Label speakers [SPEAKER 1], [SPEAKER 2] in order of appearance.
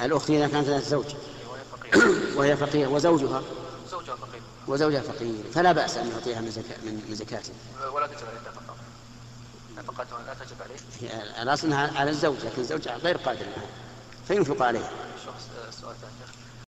[SPEAKER 1] الأخت إذا كانت لها زوج
[SPEAKER 2] وهي فقيرة
[SPEAKER 1] وهي فقيرة وزوجها
[SPEAKER 2] زوجها فقير
[SPEAKER 1] وزوجها فقير فلا بأس أن يعطيها من زكاة من من زكاته
[SPEAKER 2] ولا تجب عليه النفقة نفقتها لا تجب عليه
[SPEAKER 1] هي الأصل أنها على الزوج لكن الزوج غير قادر عليها فينفق عليها
[SPEAKER 2] شخص آه، سؤال ثاني